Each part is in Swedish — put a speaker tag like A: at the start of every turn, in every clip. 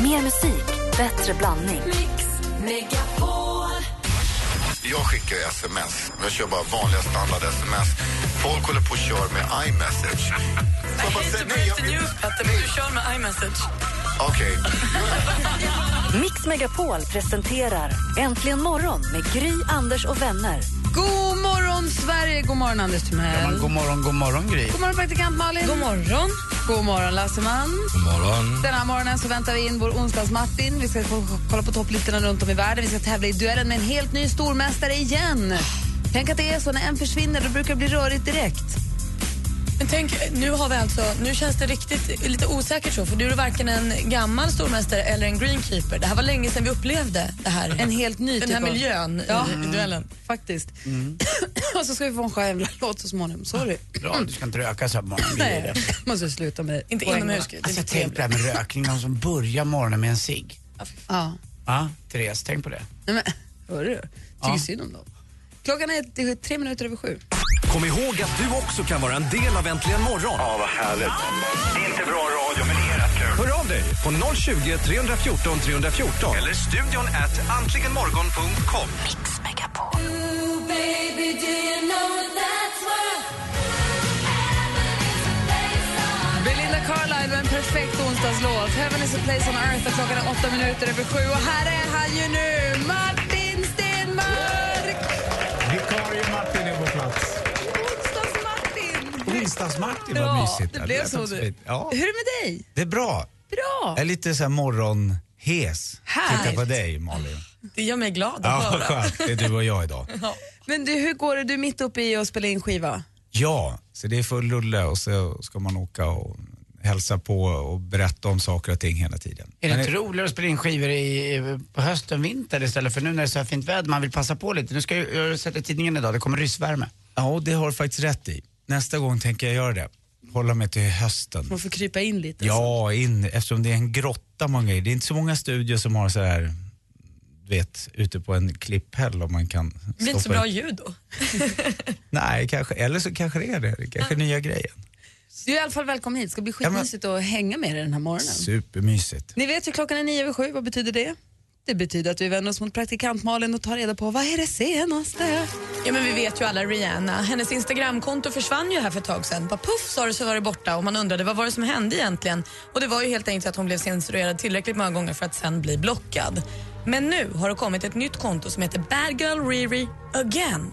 A: Mer musik, bättre blandning.
B: Mix Megapol.
C: Jag skickar ju sms. Jag kör bara vanliga standard-sms. Folk håller på och kör med iMessage. Så jag bara säger, nej, jag vill-
D: Petter, men du kör med iMessage.
C: Okej.
A: Mix Megapol presenterar Äntligen morgon med Gry, Anders och vänner.
E: God morgon, Sverige! God morgon, Anders Timell.
F: Men god morgon, god morgon Gry.
E: God morgon, praktikant Malin. God morgon. God morgon, Lasseman.
F: God morgon.
E: Den här morgonen så väntar vi in vår onsdags-Martin. Vi ska få kolla på topplistorna runt om i världen. Vi ska tävla i duellen med en helt ny stormästare igen. Tänk att det är så, när en försvinner då brukar det bli rörigt direkt.
D: Men tänk, nu har vi alltså, nu känns det riktigt lite osäkert så, för du är varken en gammal stormästare eller en greenkeeper. Det här var länge sedan vi upplevde det här.
E: En helt ny
D: den
E: typ
D: här
E: av-
D: miljön Mm.
E: Ja.
D: i, i duellen.
E: Faktiskt. Och så ska vi få en Sjöjävla-låt så småningom. Sorry.
F: Bra, du ska inte röka så här på morgonen.
E: Nej, måste sluta med
D: Inte
E: poäng,
D: inomhus.
E: va?
D: Det är
F: Alltså,
D: inte
F: tänk på det här med rökning, någon som börjar morgonen med en cigg.
E: Ja.
F: Ja, Therese, tänk på det.
E: Nej, men, hörru, tycker
F: Ja.
E: synd om dem. Klockan är det är tre minuter över sju.
G: Kom ihåg att du också kan vara en del av Äntligen morgon.
H: Ja, vad härligt. Det är inte bra radio, men det är rätt kul.
G: Hör av dig på 020 314 314.
H: Eller studion at antligenmorgon.com.
A: Mix Megapol.
E: Belinda Carlisle med en perfekt onsdagslåt. Heaven is a place on earth och klockan är åtta minuter över sju. Och här är han ju nu, Martin Stenmark!
I: Vikarie Martin är på plats.
E: Onsdags-Martin!
I: Onsdags-Martin, vad
E: Ja,
I: mysigt.
E: det blev så du.
I: du. Ja,
E: Hur är det med dig?
I: det är bra.
E: Bra!
I: Jag är lite så här morgonhes.
E: Härligt.
I: Titta på dig, Malin.
D: Det gör mig glad att
I: Ja, vad
D: höra.
I: skönt. Det är du och jag idag.
E: Men du, hur går det? Du är mitt uppe i att spela in skiva.
I: Ja, så det är full rulle och så ska man åka och hälsa på och berätta om saker och ting hela tiden.
F: Är det
I: Men
F: inte roligare att spela in skivor i, i- på hösten, vinter istället för nu när det är så här fint väder? Man vill passa på lite. Nu ska jag, jag har sett i tidningen idag, det kommer ryssvärme.
I: Ja, det har du faktiskt rätt i. Nästa gång tänker jag göra det. Hålla mig till hösten.
E: Man får krypa in lite.
I: Ja, in, eftersom det är en grotta man är i. Det är inte så många studior som har så här, du vet, ute på en klipphäll om man kan
D: Det blir inte så bra ljud då.
I: Nej, kanske, eller så kanske det är det. Det kanske är nya grejen.
E: Du är i alla fall välkommen hit. Det ska bli
I: men-
E: skitmysigt att hänga med dig den här morgonen.
I: Supermysigt.
E: Ni vet ju klockan är nio över sju, vad betyder det? Det betyder att vi vänder oss mot praktikant Malin och tar reda på vad är det senaste?
D: Ja, men vi vet ju alla Rihanna. Hennes Instagramkonto försvann ju här för ett tag sedan. Bara puff sa det så var det borta och man undrade vad var det som hände egentligen? Och det var ju helt enkelt att hon blev censurerad tillräckligt många gånger för att sen bli blockad. Men nu har det kommit ett nytt konto som heter Bad Girl Riri Again.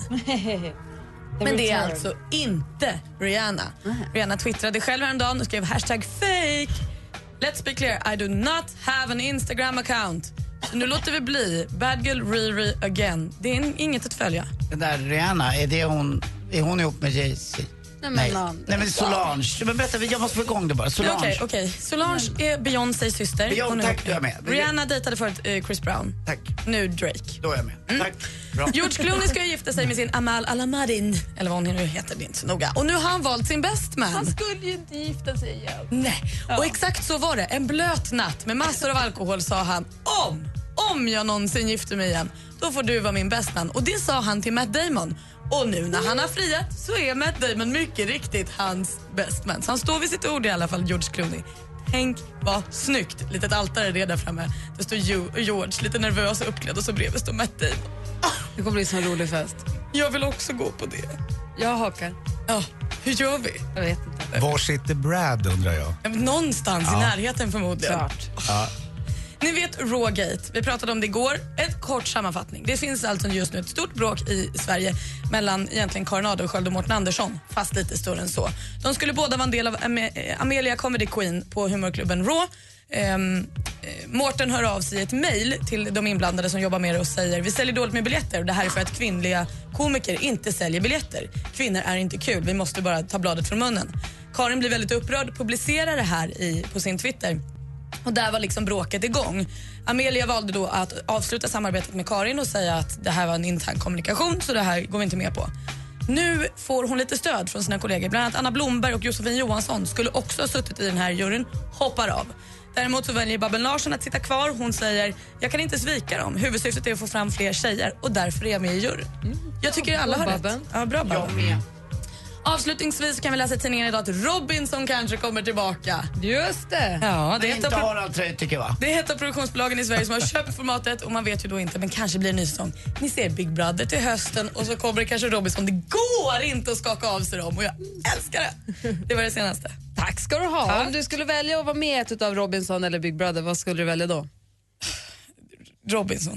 D: Men det är alltså inte Rihanna. Rihanna twittrade själv häromdagen och skrev hashtag fake. Let's be clear, I do not have an Instagram account. Så nu låter vi bli Bad Girl Riri Again. Det är in- inget att följa.
F: Den där Rihanna, är, det hon, är hon ihop med Jay-Z?
E: men Anders.
F: Nej men Solange. Men berätta, jag måste få igång det bara.
D: Nej,
F: Solange.
D: Okej, okej. Solange är Beyoncés syster.
F: Beyon-
D: Hon är
F: tack,
D: ihop nu.
F: du är med.
D: Rihanna dejtade förut eh, Chris Brown.
F: Tack,
D: Nu Drake.
F: då är jag med. Tack, bra.
D: George Clooney ska ju gifta sig med sin Amal Alamarin, eller vad hon nu heter, det är inte så noga. Och nu har han valt sin best man. Han skulle ju inte gifta sig igen. Nej, och exakt så var det. En blöt natt med massor av alkohol sa han om, om jag någonsin gifter mig igen, då får du vara min best man. Och det sa han till Matt Damon. Och nu när han har friat så är Matt Damon mycket riktigt hans best man. Så han står vid sitt ord i alla fall, George Clooney. Tänk vad snyggt! Litet altare det är där framme. Det står Jo- George lite nervös och uppklädd och så bredvid står Matt Damon.
E: Det kommer bli en sån rolig fest.
D: Jag vill också gå på det.
E: Jag hakar.
D: Ja, hur gör vi?
E: Jag vet inte.
I: Var sitter Brad undrar jag?
D: Ja, men Någonstans i närheten förmodligen.
E: Klart.
D: Ni vet Rawgate, vi pratade om det igår. En kort sammanfattning. Det finns alltså just nu ett stort bråk i Sverige mellan egentligen Karin Adolfsköld och Mårten Andersson, fast lite större än så. De skulle båda vara en del av Ame- eh, Amelia Comedy Queen på humorklubben Raw. Ehm, eh, Mårten hör av sig i ett mejl till de inblandade som jobbar med det och säger vi säljer dåligt med biljetter och det här är för att kvinnliga komiker inte säljer biljetter. Kvinnor är inte kul, vi måste bara ta bladet från munnen. Karin blir väldigt upprörd, publicerar det här i, på sin Twitter. Och där var liksom bråket igång. Amelia valde då att avsluta samarbetet med Karin och säga att det här var en intern kommunikation så det här går vi inte med på. Nu får hon lite stöd från sina kollegor. Bland annat Anna Blomberg och Josefin Johansson skulle också ha suttit i den här juryn, hoppar av. Däremot så väljer Babben Larsson att sitta kvar. Hon säger jag kan inte svika dem. Huvudsyftet är att få fram fler tjejer och därför är jag med i juryn. Jag tycker alla har rätt.
E: Babben.
D: Ja, bra Babben. Avslutningsvis kan vi läsa i tidningen idag att Robinson kanske kommer tillbaka.
E: Just det.
D: Ja, det
F: Det är inte
D: heter...
F: Harald Treutiger va?
D: Det är ett av produktionsbolagen i Sverige som har köpt formatet och man vet ju då inte, men kanske blir det en ny säsong. Ni ser Big Brother till hösten och så kommer det kanske Robinson. Det går inte att skaka av sig dem och jag älskar det. Det var det senaste.
E: Tack ska du ha. Om du skulle välja att vara med i ett utav Robinson eller Big Brother, vad skulle du välja då?
D: Robinson.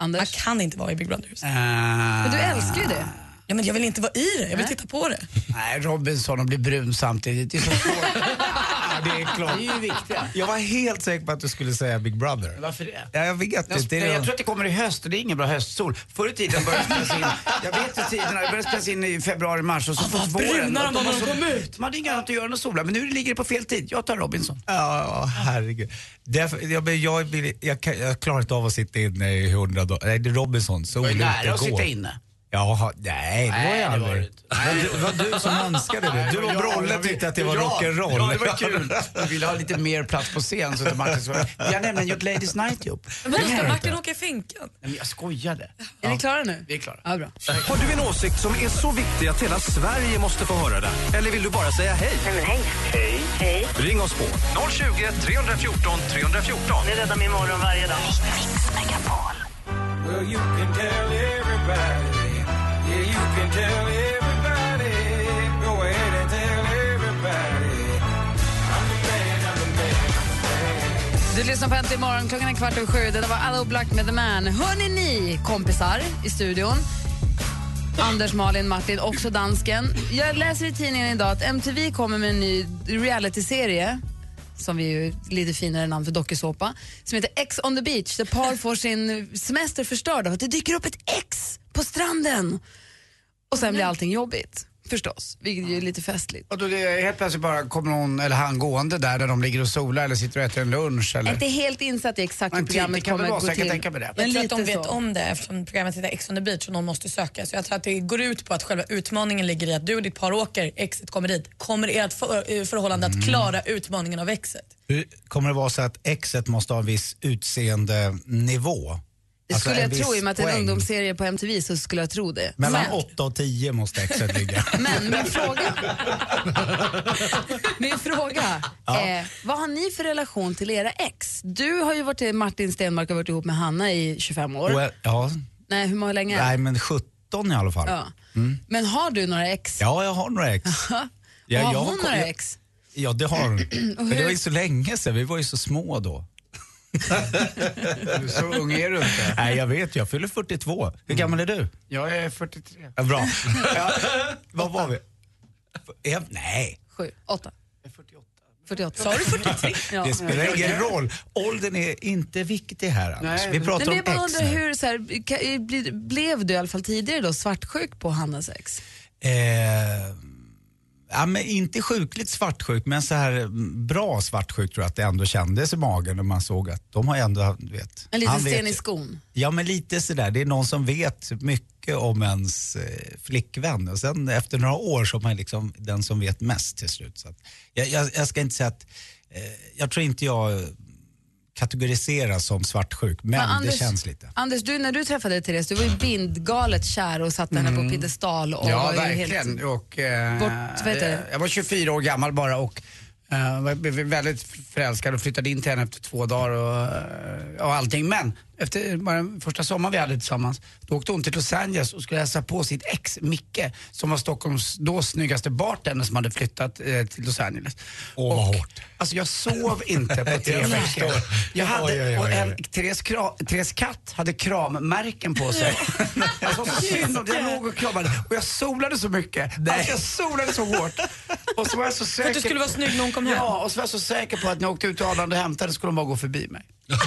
D: Man
E: Anders?
D: kan inte vara i Big Brother just nu.
E: Men
F: Eh,
E: du älskar ju det.
D: ja, men Jag vill inte vara i det, jag vill titta på det.
F: Nej, Robinson och bli brun samtidigt. Det är så svårt.
I: Ja, det är klart.
F: Det är ju viktiga.
I: Jag var helt säker på att du skulle säga Big Brother.
F: Varför det?
I: Ja, jag vet
F: Jag,
I: inte.
F: sp-
I: Det är
F: jag tror att det kommer i höst och det är ingen bra höstsol. Förr i tiden började det spelas in, jag vet ju tiderna, det började spelas in i februari, mars och så på
D: vad bruna de
F: och
D: var när
F: så-
D: de kom ut.
F: De hade inget annat att göra än att sola, men nu ligger det på fel tid. Jag tar Robinson.
I: Ja, ja, herregud. Därför, jag, men jag, vill- jag, kan- jag klarar inte av att sitta inne i hundra dagar. Nej, det är Robinson. Så
F: Jag är
I: olyckligt
F: nära att
I: går.
F: sitta inne.
I: Jaha, nej det var
F: Nej,
I: jag
F: det var
I: aldrig.
F: det inte.
I: Men det var du som önskade det. Du och Brolle tyckte att det var
F: Ja,
I: rock'n'roll.
F: Ja, det var kul. Vi ville ha lite mer plats på scen. Så att Marcus var... Vi har nämligen gjort Ladies Night ihop.
D: Men då ska Martin åka i finkan.
F: Nej, men jag skojade.
E: Är ni klara nu?
F: Vi är klara.
E: Ja, bra.
G: Har du en åsikt som är så viktig att hela Sverige måste få höra den? Eller vill du bara säga hej?
B: Nej, men hej. Hej. Hej.
G: Ring oss på 020 314 314.
B: Ni räddar min morgon varje dag.
E: Du lyssnar på Äntligen morgon, klockan är kvart över sju. Det där var Allo Black med The Man. Hörni ni kompisar i studion. Anders, Malin, Martin, också dansken. Jag läser i tidningen idag att MTV kommer med en ny realityserie som vi ju lite finare namn för dokusåpa, som heter X on the beach där par får sin semester förstörd av att det dyker upp ett X på stranden. Och sen blir allting jobbigt, förstås, vilket ju är lite festligt.
F: Och då det, är helt plötsligt bara kommer hon eller han gående där när de ligger och solar eller sitter och äter en lunch
E: Jag
F: eller...
E: är inte helt insatt i exakt hur
F: Men typ, det
E: programmet
F: kan
E: kommer
F: väl
E: att gå
F: vara
E: till.
F: så, jag kan tänka mig det.
E: Men
D: Jag tror att
E: lite
D: de vet
E: så.
D: om det eftersom programmet heter Ex on the beach och någon måste söka. Så jag tror att det går ut på att själva utmaningen ligger i att du och ditt par åker, exet kommer dit. Kommer ert för, eh, förhållande att klara utmaningen av exet?
I: Hur Kommer det vara så att exet måste ha en viss utseendenivå?
E: Det
I: Alltså,
E: skulle
I: en
E: jag tro,
I: viss
E: i och med att det är en
I: poäng.
E: ungdomsserie på MTV så skulle jag tro det.
I: Mellan
E: men,
I: 8 och 10 måste exet ligga.
E: men min fråga, min fråga är, vad har ni för relation till era ex? Du har ju varit Martin Stenmark har varit ihop med Hanna i 25 år.
I: Och, ja,
E: Nej, hur många länge?
I: nej men 17 i alla fall.
E: Ja. Men har du några ex?
I: Ja, jag har några ex. Ja,
E: har
I: jag
E: hon
I: kom-
E: några
I: jag-
E: ex?
I: Ja, det har hon. Men
E: hur-
I: det var ju så länge sedan, vi var ju så små då.
F: Så ung är du inte. Mm.
I: Nej, jag vet, jag fyller 42. Hur gammal är du?
F: Jag är 43.
I: Ja, bra. Ja, vad var vi? Är jag- Nej,
E: Sju, åtta. 48.
D: Sa
E: 48.
D: du 43?
E: Ja.
I: det spelar ingen roll. Åldern är inte viktig här Anders.
F: Nej,
I: vi
F: det-
E: Nej,
I: pratar
E: men jag bara
I: om ex
E: undrar,
I: nu.
E: hur, så här, kan, blir- blev du i alla fall tidigare då svartsjuk på Hannas ex?
I: Eh, ja, men inte sjukligt svartsjuk, men så här mm, bra svartsjuk tror jag att det ändå kändes i magen när man såg att de har ändå, du vet.
E: En liten
I: han vet
E: sten i
I: ju.
E: skon?
I: Ja men lite sådär, det är någon som vet mycket om ens eh, flickvän och sen efter några år så är man liksom den som vet mest till slut. Så att, jag, jag, jag ska inte säga att, eh, jag tror inte jag kategoriseras som svartsjuk men,
E: Men
I: det känns lite.
E: Anders, du, när du träffade Therese, du var ju bindgalet kär och satte henne på
I: Mm.
E: piedestal. Och
F: Ja,
E: var ju
F: verkligen.
E: Helt...
F: Och, eh,
E: Bort- vad heter det?
F: Jag var 24 år gammal bara och eh, var- blev väldigt förälskad och flyttade in till henne efter två dagar och, eh, och allting. Men efter bara den första sommaren vi hade tillsammans, då åkte hon till Los Angeles och skulle hälsa på sitt ex Micke som var Stockholms då snyggaste bartender som hade flyttat eh, till Los Angeles.
I: Åh, vad hårt.
F: Alltså jag sov inte på tre
I: Jag
F: veckor.
I: förstår.
F: Jag hade,
I: Oj, oj, oj,
F: och en,
I: oj.
F: Therese, kra, Therese katt hade krammärken på sig. Alltså så synd om det. Jag låg och kramade och jag solade så mycket. Alltså jag solade så hårt. Och så var jag så säker.
D: att du skulle vara snygg när hon kom hem.
F: Ja, och så var jag så säker på att när jag åkte ut till Arlanda och hämtade skulle hon bara gå förbi mig.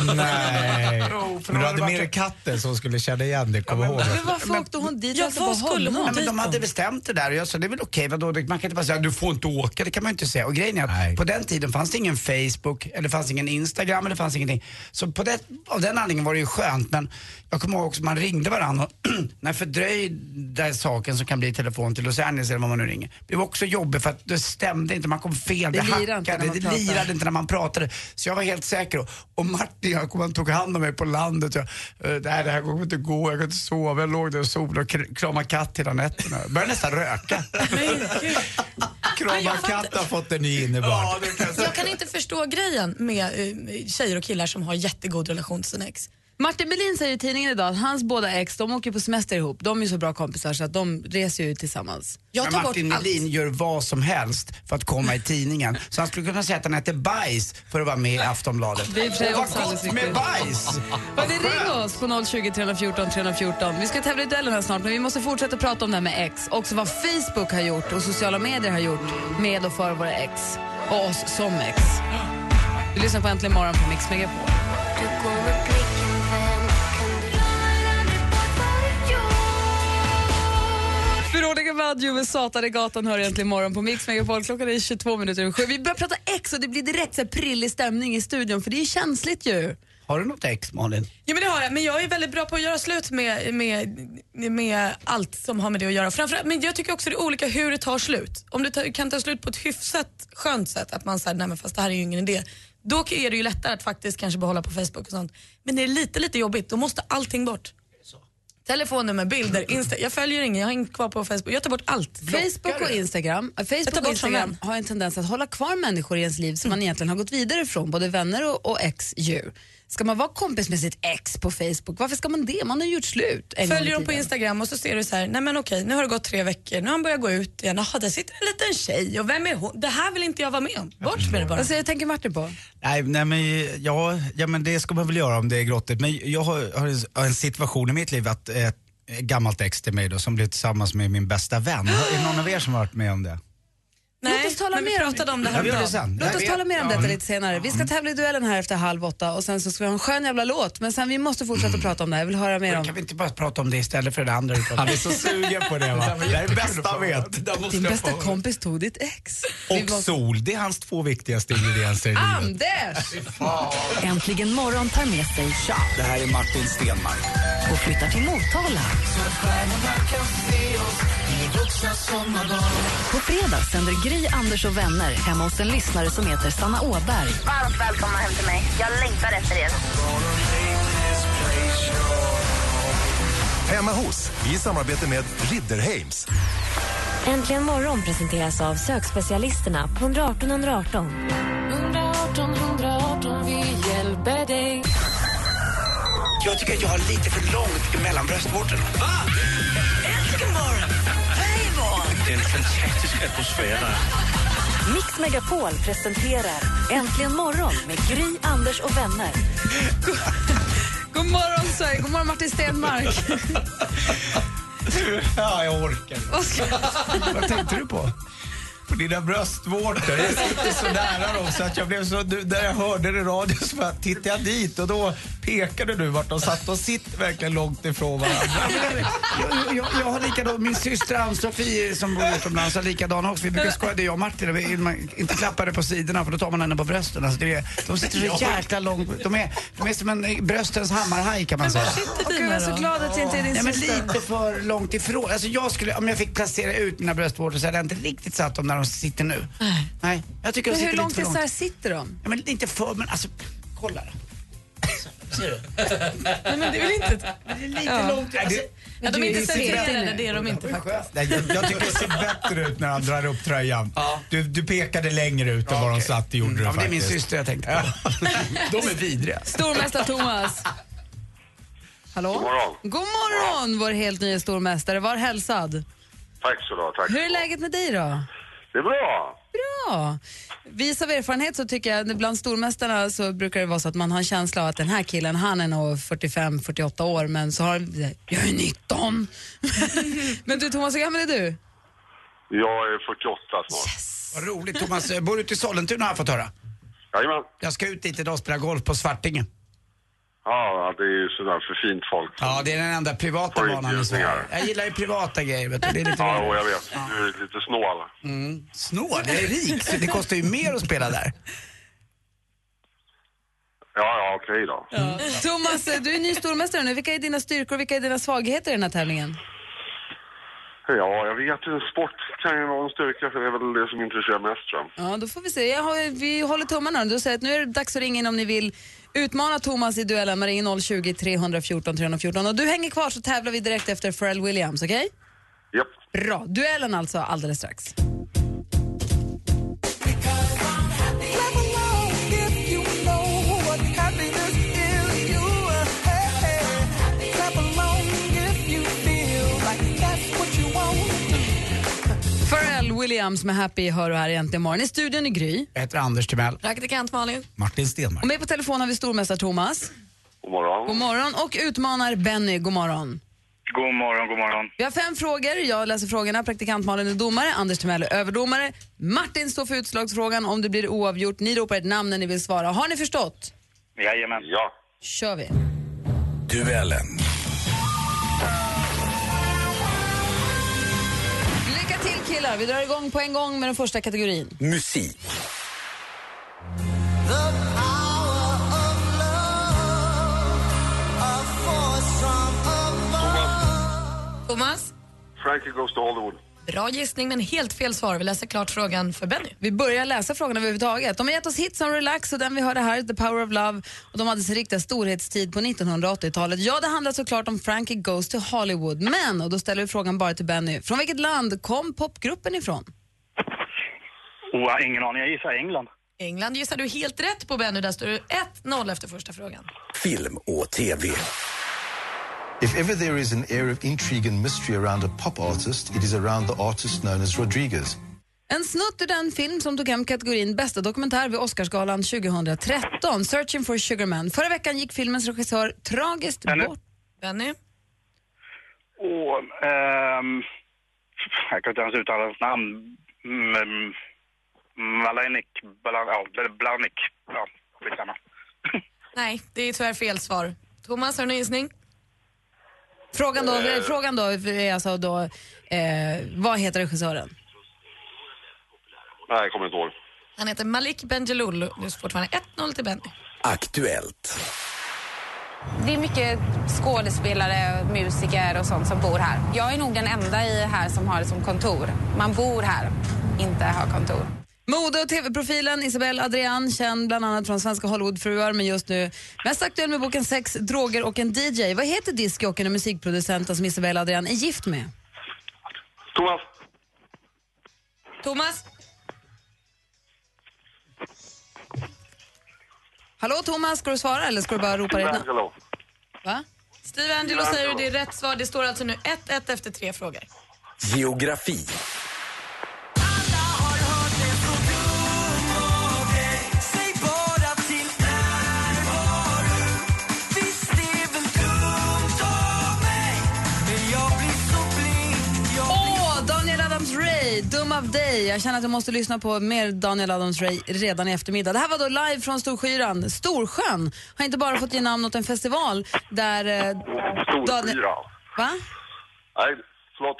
I: Nej,
F: Jo, för
I: men
F: då hade
I: du hade
F: varit-
I: med dig katten som skulle känna igen dig, kom ihåg.
E: Men varför åkte hon dit?
D: Ja,
E: Hälsade
D: vad
E: på
D: skulle hon
E: honom?
F: Ja, men de hade
D: Dessutom.
F: bestämt det där och jag sa det är väl okej, vadå? Det- man kan inte bara säga du får inte åka, det kan man ju inte säga. Och grejen är att
I: Nej.
F: på den tiden fanns det ingen Facebook, eller fanns ingen Instagram, eller fanns ingenting. Så på det, av den anledningen var det ju skönt, men jag kommer ihåg också man ringde varandra och när fördröjda saken som kan bli telefon till Los Angeles eller vad man nu ringer, det var också jobbigt för att det stämde inte, man kom fel, det,
E: Det lirar inte när
F: hackade,
E: man
F: det
E: pratar.
F: lirade inte när man pratade. Så jag var helt säker. Och Mart, hjärting. Jag kommer ihåg, han tog hand om mig på landet. Jag, eh, nej, det här kommer inte gå. Jag kunde inte sova. Jag låg där och solade och kr- kramade katt hela nätterna. Jag började nästan röka.
I: Krama katt har fått en ny innebörd.
F: det kan jag säga.
D: Jag kan inte förstå grejen med eh, tjejer och killar som har jättegod relation till sina ex.
E: Martin Melin säger i tidningen idag att hans båda ex, de åker på semester ihop. De är ju så bra kompisar så att de reser ju tillsammans.
D: Jag
F: Men
D: tar
F: Martin
D: bort allt.
F: Melin gör vad som helst för att komma i tidningen. Så han skulle kunna säga att han äter bajs för att vara med i Aftonbladet.
E: Det är i och för sig
F: Vad
E: också alldeles
F: gott med
E: riktigt.
F: bajs!
E: Hörni, ring oss på 020 314 314. Vi ska tävla i duellen här snart, men vi måste fortsätta prata om det här med ex. Också vad Facebook har gjort och sociala medier har gjort med och för våra ex. Och oss som ex. Du lyssnar på Äntligen morgon på Mix Megapol. Veronica Maggio med Satan i gatan hör egentligen imorgon på Mix Megapol. Klockan är 22 minuter över sju. Vi börjar prata ex och det blir direkt så här prillig stämning i studion för det är ju känsligt ju.
F: Har du något ex, Malin?
D: Ja, men det har jag, men jag är väldigt bra på att göra slut med, med, med allt som har med det att göra. Framförallt, men jag tycker också det är olika hur det tar slut. Om det tar, kan ta slut på ett hyfsat skönt sätt, att man säger nej men fast det här är ju ingen idé. Då är det ju lättare att faktiskt kanske behålla på Facebook och sånt. Men det är lite, lite jobbigt, då måste allting bort. Telefonnummer, bilder, Insta. Jag följer ingen, jag har inget kvar på Facebook. Jag tar bort allt.
E: Facebook och Instagram, äh,
D: tar
E: Facebook
D: bort
E: och Instagram
D: som
E: har en tendens att hålla kvar människor i ens liv som man egentligen har gått vidare ifrån, både vänner och, och ex ju. Ska man vara kompis med sitt ex på Facebook? Varför ska man det? Man har gjort slut en gång i
D: Följer dem på
E: tiden.
D: Instagram och så ser du så här, nej men okej, nu har det gått tre veckor, nu har han börjat gå ut igen, jaha där sitter en liten tjej och vem är hon? Det här vill inte jag vara med om. Bort med det bara.
E: Vad säger Alltså, tänker Martin på?
I: Nej, nej men, ja, ja, men det ska man väl göra om det är grottigt. Men jag har, har en- har en situation i mitt liv att eh, ett gammalt ex till mig då, som blev tillsammans med min bästa vän. Har- Är det någon av er som har varit med om det?
E: Låt oss tala
D: men
E: mer
D: vi
E: om-
D: pratade om det
I: Ja,
D: här
I: vi gör det sen.
E: Låt
I: Jag
E: oss
I: vet-
E: tala mer om
I: ja. Mm.
E: detta lite senare. Vi ska tävla i duellen här efter halv åtta och sen så ska vi ha en skön jävla låt. Men sen vi måste
I: Mm.
E: fortsätta prata om det här. Jag vill höra mer om
F: Kan vi inte bara prata om det istället för det andra du pratade om?
I: Han är så sugen på det va? Det är det bästa han vet.
E: din bästa kompis tog ditt ex. Vi
I: Och sol, det är hans två viktigaste ingredienser i livet.
E: Anders!
A: Äntligen morgon tar med sig
I: Det här är Martin Stenmark.
A: och flyttar till Motala. På fredag sänder Gry, Anders och vänner hemma hos en lyssnare som heter Sanna Åberg.
B: Varmt välkomna hem till mig. Jag längtar efter er.
H: Hemma hos, i samarbete med Ridderheims.
J: Äntligen morgon presenteras av sökspecialisterna på 118 118.
F: Jag tycker att jag har lite för långt mellan bröstvårtorna.
A: Mix Megapol presenterar Äntligen morgon med Gry, Anders och vänner.
E: God morgon Sverige, god morgon Martin Stenmark.
I: Ja, jag orkar
E: Vad ska-
I: Vad tänkte du på? På dina bröstvårtor. Jag sitter så nära dem så att jag blev så... du- När jag hörde det i radio så bara tittade jag dit och då pekade du vart de satt. De sitter verkligen långt ifrån varandra.
F: jag, jag, jag har likadant, min syster Ann-Sofie som bor utomlands har likadan också. Vi brukar skoja, det är jag och Martin, vi, man, inte klappar det på sidorna för då tar man henne på brösten. Alltså, det är, de sitter så jäkla långt, de är, de är som en eh, bröstens hammarhaj kan man säga.
D: Sitter
E: Gud, jag
D: dina
E: är så
D: då?
E: glad att det inte är din
F: Nej, men
E: syster.
F: lite för långt ifrån. Alltså jag skulle, om jag fick placera ut mina bröstvårtor så hade jag inte riktigt satt dem där de sitter nu. Nej, jag tycker de
E: Men hur
F: sitter lite
E: långt
F: för långt.
E: isär sitter de?
F: Ja, men inte för, men alltså kolla.
D: Nej, men det är väl inte...
F: Men det är lite långt.
I: Nej,
F: Alltså,
I: det-
D: Ja, de är inte
E: ser
D: serverade,
E: inte.
D: det är de inte faktiskt.
I: Nej, jag, jag tycker det ser bättre ut när han drar upp tröjan. Du, du pekade längre ut än var de satt, det gjorde
F: Mm,
I: du
F: ja, men det är
I: faktiskt.
F: min syster jag tänkte på. De är vidriga.
E: Stormästare Thomas. Hallå? God
H: morgon.
E: God morgon, vår helt nya stormästare. Var hälsad.
H: Tack så du ha, tack.
E: Hur är läget med dig då?
H: Det är bra.
E: Bra. Vis av erfarenhet så tycker jag att bland stormästarna så brukar det vara så att man har en känsla av att den här killen, han är nog 45-48 år, men så har han, jag är 19. men du Thomas, hur gammal är du?
H: Jag är 48 snart.
F: Vad roligt Thomas, Eh, bor du ute i Sollentuna har jag fått höra.
H: Jajamän.
F: Jag ska ut dit idag och spela golf på Svartingen.
H: Ja, det är ju sådär för fint folk.
F: Ja, det är den enda privata
H: Får
F: banan i Sverige.
H: inbjudningar.
F: Jag gillar ju privata grejer vet du. Det är lite
H: Ja, och jag vet. Du är lite snål.
F: snål, jag är rik så det kostar ju mer att spela där.
H: Ja, ja, okej då.
E: Thomas, du är ny stormästare nu. Vilka är dina styrkor och vilka är dina svagheter i den här tävlingen?
H: Ja, jag vet ju en sport kan ju vara en styrka för det är väl det som intresserar mest tror jag.
E: Ja, då får vi se. Jag har, vi håller tummarna. Du säger att nu är det dags att ringa in om ni vill utmana Thomas i duellen. Man ringer 020 314 314. Och du hänger kvar så tävlar vi direkt efter Pharrell Williams, okej?
H: Japp.
E: Bra. Duellen alltså alldeles strax. Pharrell Williams med Happy hör du här egentligen imorgon. I studion i Gry.
K: Jag heter Anders Timell.
E: Praktikant Malin.
F: Martin Stenmarck.
E: Och med på telefon har vi stormästare Thomas.
H: God morgon.
E: God morgon. Och utmanar Benny. God morgon.
I: God morgon, god morgon.
E: Vi har fem frågor. Jag läser frågorna. Praktikant Malin är domare, Anders Timell är överdomare. Martin står för utslagsfrågan om det blir oavgjort. Ni ropar ett namn när ni vill svara. Har ni förstått?
I: Jajamän.
H: Ja.
E: kör vi.
L: Duellen.
E: Lycka till killar. Vi drar igång på en gång med den första kategorin.
L: Musik.
D: Thomas,
H: Frankie Goes to Hollywood.
D: bra gissning men helt fel svar. Vi läser klart frågan för Benny.
E: Vi börjar läsa frågorna överhuvudtaget. De har gett oss hits som Relax och den vi hörde här, The Power of Love. Och de hade sin riktiga storhetstid på 1980-talet. Ja, det handlar såklart om Frankie Goes to Hollywood. Men, och då ställer vi frågan bara till Benny, från vilket land kom popgruppen ifrån?
I: Oh, ingen aning, jag gissar England.
D: England gissar du helt rätt på Benny. Där står det 1-0 efter första frågan.
G: Film och TV.
M: If ever there is an air of intrigue and mystery around a pop artist, it is around the artist known as Rodriguez.
E: En snutt ur den film som tog hem kategorin bästa dokumentär vid Oscarsgalan 2013, Searching for Sugar Man. Förra veckan gick filmens regissör tragiskt bort.
D: Benny?
I: Och, ehm, jag kan inte ens uttala hans namn. Mm, Malenik, Blan, ja, Blanik. Ja, skitsamma.
D: Nej, det är tyvärr fel svar. Thomas, har du någon gissning?
E: Frågan då,
D: Eh.
E: frågan då är alltså då, eh, vad heter regissören?
H: Nej, jag kommer inte ihåg.
D: Han heter Malik Benjelloul. Det står fortfarande 1-0 till Benny.
G: Aktuellt.
N: Det är mycket skådespelare, musiker och sånt som bor här. Jag är nog den enda i här som har det som kontor. Man bor här, inte har kontor.
E: Mode och tv-profilen Isabelle Adrian, känd bland annat från Svenska Hollywoodfruar men just nu mest aktuell med boken Sex, droger och en DJ. Vad heter discjockeyn och musikproducenten som Isabelle Adrian är gift med?
H: Thomas.
D: Thomas?
E: Hallå Thomas, ska du svara eller ska du bara ropa ditt namn?
H: Angelo.
E: Va?
D: Steve Angelo säger du, det är rätt svar. Det står alltså nu 1-1 efter tre frågor.
G: Geografi.
E: Åh, Daniel Adams-Ray, Dum of Day. Jag känner att jag måste lyssna på mer Daniel Adams-Ray redan i eftermiddag. Det här var då live från Storskyran. Storsjön har inte bara fått ge namn åt en festival där... Eh, Daniel-
H: Storskyra.
E: Va?
H: Nej, förlåt.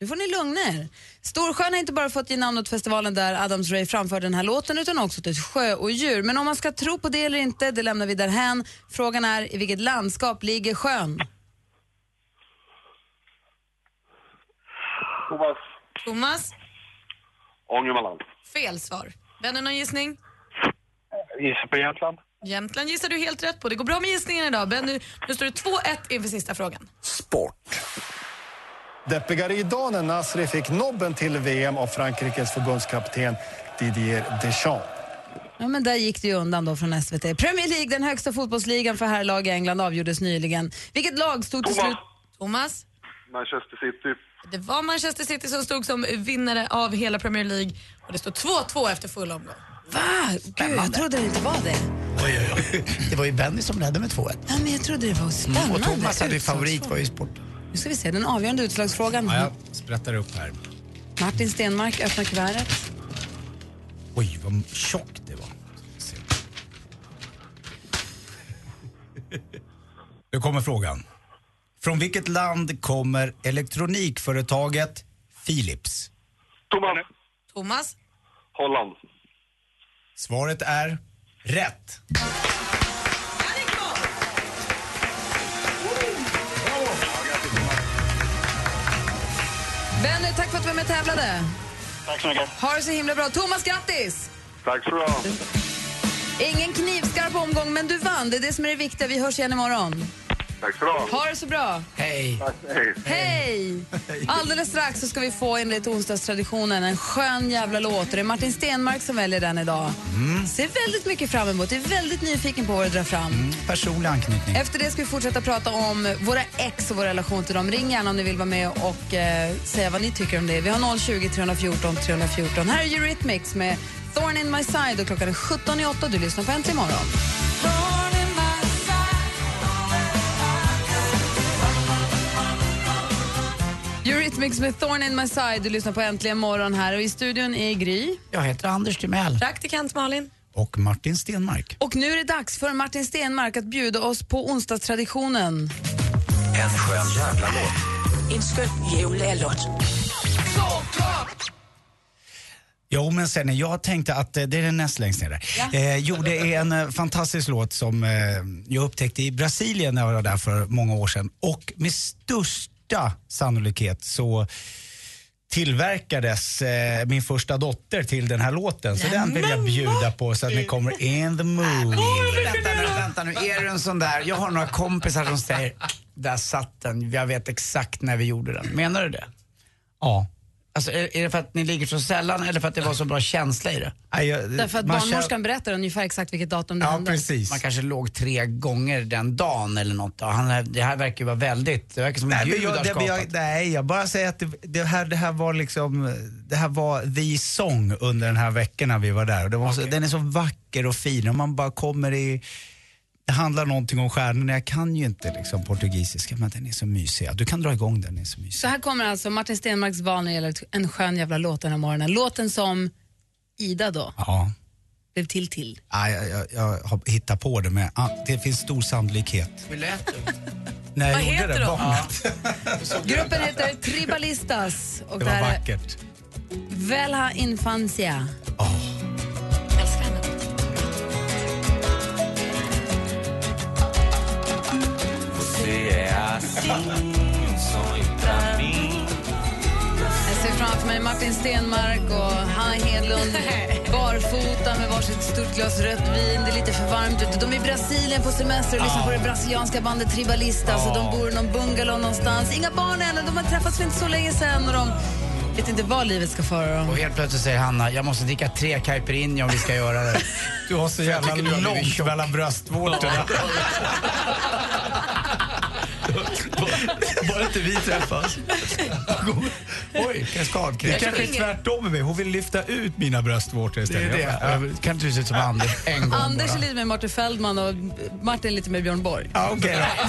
E: Nu får ni lugna er. Storsjön har inte bara fått ge namn åt festivalen där Adams Ray framförde den här låten utan också till ett sjöodjur. Men om man ska tro på det eller inte, det lämnar vi därhän. Frågan är i vilket landskap ligger sjön?
H: Thomas.
D: Thomas?
H: Ångermanland.
D: Fel svar. Benny, någon gissning?
I: Gissar på Jämtland.
D: Jämtland gissar du helt rätt på. Det går bra med gissningarna idag. Benny, nu står det 2-1 inför sista frågan.
O: Deppigare idag när Nasri fick nobben till VM av Frankrikes förbundskapten Didier Deschamps.
E: Ja, men där gick det ju undan då från SVT. Premier League, den högsta fotbollsligan för herrlag i England, avgjordes nyligen. Vilket lag stod till slut...
D: Thomas?
H: Manchester City.
D: Det var Manchester City som stod som vinnare av hela Premier League. Och det står 2-2 efter full omgång.
E: Va? Gud, jag trodde det inte var det.
K: Det var ju Benny som ledde med 2-1.
E: Ja, men jag trodde det var spännande.
K: Mm, Och Thomas hade ju
E: utslagsfråga.
K: favorit var ju sport.
E: Nu ska vi se, den avgörande utslagsfrågan.
F: Ja, jag sprättar upp här.
E: Martin Stenmark öppnar kuvertet.
F: Oj, vad tjockt det var. Ska se. Nu kommer frågan. Från vilket land kommer elektronikföretaget Philips?
H: Thomas.
D: Thomas?
H: Holland.
F: Svaret är rätt.
E: Benny, Eh, tack för att du var med och tävlade.
I: Tack så mycket.
E: Ha det så himla bra. Thomas, grattis!
H: Tack så du ha.
E: Ingen knivskarp omgång, men du vann. Det är det som är det viktiga. Vi hörs igen imorgon.
H: Tack så du ha.
E: Ha det så bra.
P: Hej.
E: Hej! Alldeles strax så ska vi få enligt onsdagstraditionen en skön jävla låt. Och Det är Martin Stenmark som väljer den idag.
K: Mm.
E: Ser väldigt mycket fram emot. Jag är väldigt nyfiken på vad du drar fram.
F: Personlig anknytning.
E: Efter det ska vi fortsätta prata om våra ex och vår relation till dem. Ring gärna om ni vill vara med och eh, säga vad ni tycker om det. Vi har 020 314 314. Här är Eurythmics med Thorn in my side och klockan är 17 i 8 du lyssnar på Äntligen morgon. Eurythmics med Thorn in my side. Du lyssnar på Äntligen morgon här och i studion är Gry.
P: Jag heter Anders Timell.
E: Praktikant Malin.
F: Och Martin Stenmark.
E: Och nu är det dags för Martin Stenmark att bjuda oss på onsdagstraditionen.
Q: En skön jävla låt.
E: En skön jullåt.
F: Jo, men sen när jag tänkte att eh, det är den näst längst ner där. Eh, jo, det är en eh, fantastisk låt som eh, jag upptäckte i Brasilien när jag var där för många år sedan. Och med största sannolikhet så tillverkades eh, min första dotter till den här låten. Så den vill jag bjuda på så att ni kommer in the mood.
P: Vänta nu, vänta nu. Är du en sån där, jag har några kompisar som säger, där satt den, jag vet exakt när vi gjorde den. Menar du det?
F: Ja.
P: Alltså är, är det för att ni ligger så sällan eller för att det var så bra känsla i det?
F: Nej, jag,
E: Därför att barnmorskan berättar ungefär exakt vilket datum det hände.
P: Man kanske låg tre gånger den dagen eller något. Ja, Han, det här verkar ju vara väldigt, det verkar som
F: Nej,
P: en
F: men
P: gud har
F: jag, det, men
P: skapat.
F: jag, nej, jag bara säger att det, det, här, det här var liksom, det här var the song under den här veckan när vi var där. Och det var så, den är så vacker och fin och man bara kommer i, det handlar någonting om stjärnorna. Jag kan ju inte liksom portugisiska men den är så mysig. Ja, Du kan dra igång den, den är så mysig.
E: Så här kommer alltså Martin Stenmarks val när det gäller en skön jävla låt den här morgonen. Låten som Ida då
F: Ja.
E: blev till till.
F: Ja, jag, jag, jag har hittat på det med, ah, det finns stor sannolikhet.
P: Hur lät det?
F: När jag
E: Vad
F: gjorde
E: heter
F: det,
E: de?
F: barnet.
E: Gruppen heter Tribalistas och
F: Det
E: det
F: var
E: här är
F: vackert.
E: Velha Infancia.
P: Oh.
E: Jag ser framför mig Martin Stenmark och Hanna Hedlund barfota med varsitt stort glas rött vin. Det är lite för varmt ute. De är i Brasilien på semester och lyssnar på det brasilianska bandet Tribalista. Så de bor i någon bungalow någonstans. Inga barn än och de har träffats för inte så länge sedan. Och de vet inte vad livet ska föra dem.
P: Och helt plötsligt säger Hanna, jag måste dricka tre caipirinha om vi ska göra det.
F: Du har så jävla långt mellan bröstvårtorna. Bara inte vi träffas.
P: Oj,
F: Det
P: kaskadkräm.
F: är kanske är tvärtom med mig. Hon vill lyfta ut mina bröstvårtor
P: Det är
F: istället.
P: det. Jag kan inte du se ut som Anders en gång
E: Anders är
P: bara.
E: lite med Martin Feldman och Martin är lite med Björn Borg.
F: Ja, okej då.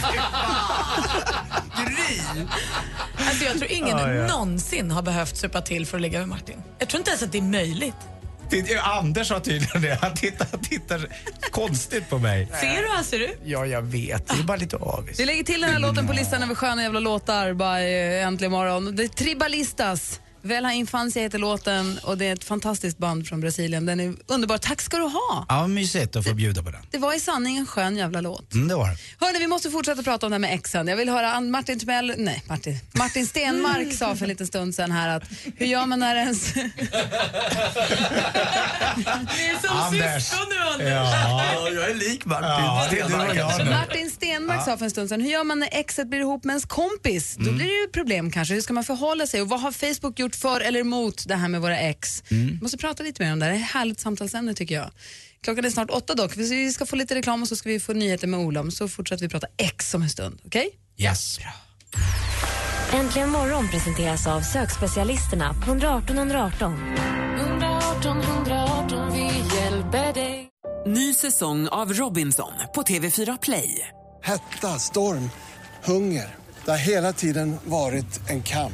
D: Alltså jag tror ingen
F: Ja, ja.
D: någonsin har behövt supa till för att ligga med Martin. Jag tror inte ens att det är möjligt.
F: Det- Anders har tydligen det. Han tittar, han tittar konstigt på mig.
D: Ser du hur han ser ut?
P: Ja, jag vet. Det är bara lite avis.
E: Vi lägger till den här låten på listan över sköna jävla låtar by eh, Äntligen morgon. Det är Tribalistas. Velha Infancia heter låten och det är ett fantastiskt band från Brasilien. Den är underbar. Tack ska du ha!
F: Ja, mysigt att få bjuda på den.
E: Det var i sanning en skön jävla låt.
F: Mm, det var det.
E: Hörni, vi måste fortsätta prata om det här med exen. Jag vill höra Ann- Martin Timell, nej Martin, Martin Stenmark sa för en liten stund sedan här att hur gör man när ens...
D: Ni är som
F: Anders.
D: syskon nu Anders.
F: Ja, jag är lik Martin ja, det är du och jag nu.
E: Martin Stenmark
F: Ja. Mm.
E: sa för en stund sedan, hur gör man när exet blir ihop med ens kompis? Då blir det ju problem kanske. Hur ska man förhålla sig? Och vad har Facebook gjort för eller emot det här med våra ex?
F: Mm.
E: Vi måste prata lite mer om det här. Det är ett härligt samtalsämne tycker jag. Klockan är snart åtta dock. Vi ska få lite reklam och så ska vi få nyheter med Ola. Så fortsätter vi prata ex om en stund. Okej?
F: Yes.
A: Äntligen morgon presenteras av sökspecialisterna på 118 118.
R: 118 118, vi hjälper dig. Ny säsong av Robinson på TV4 Play.
S: Hetta, storm, hunger. Det har hela tiden varit en kamp.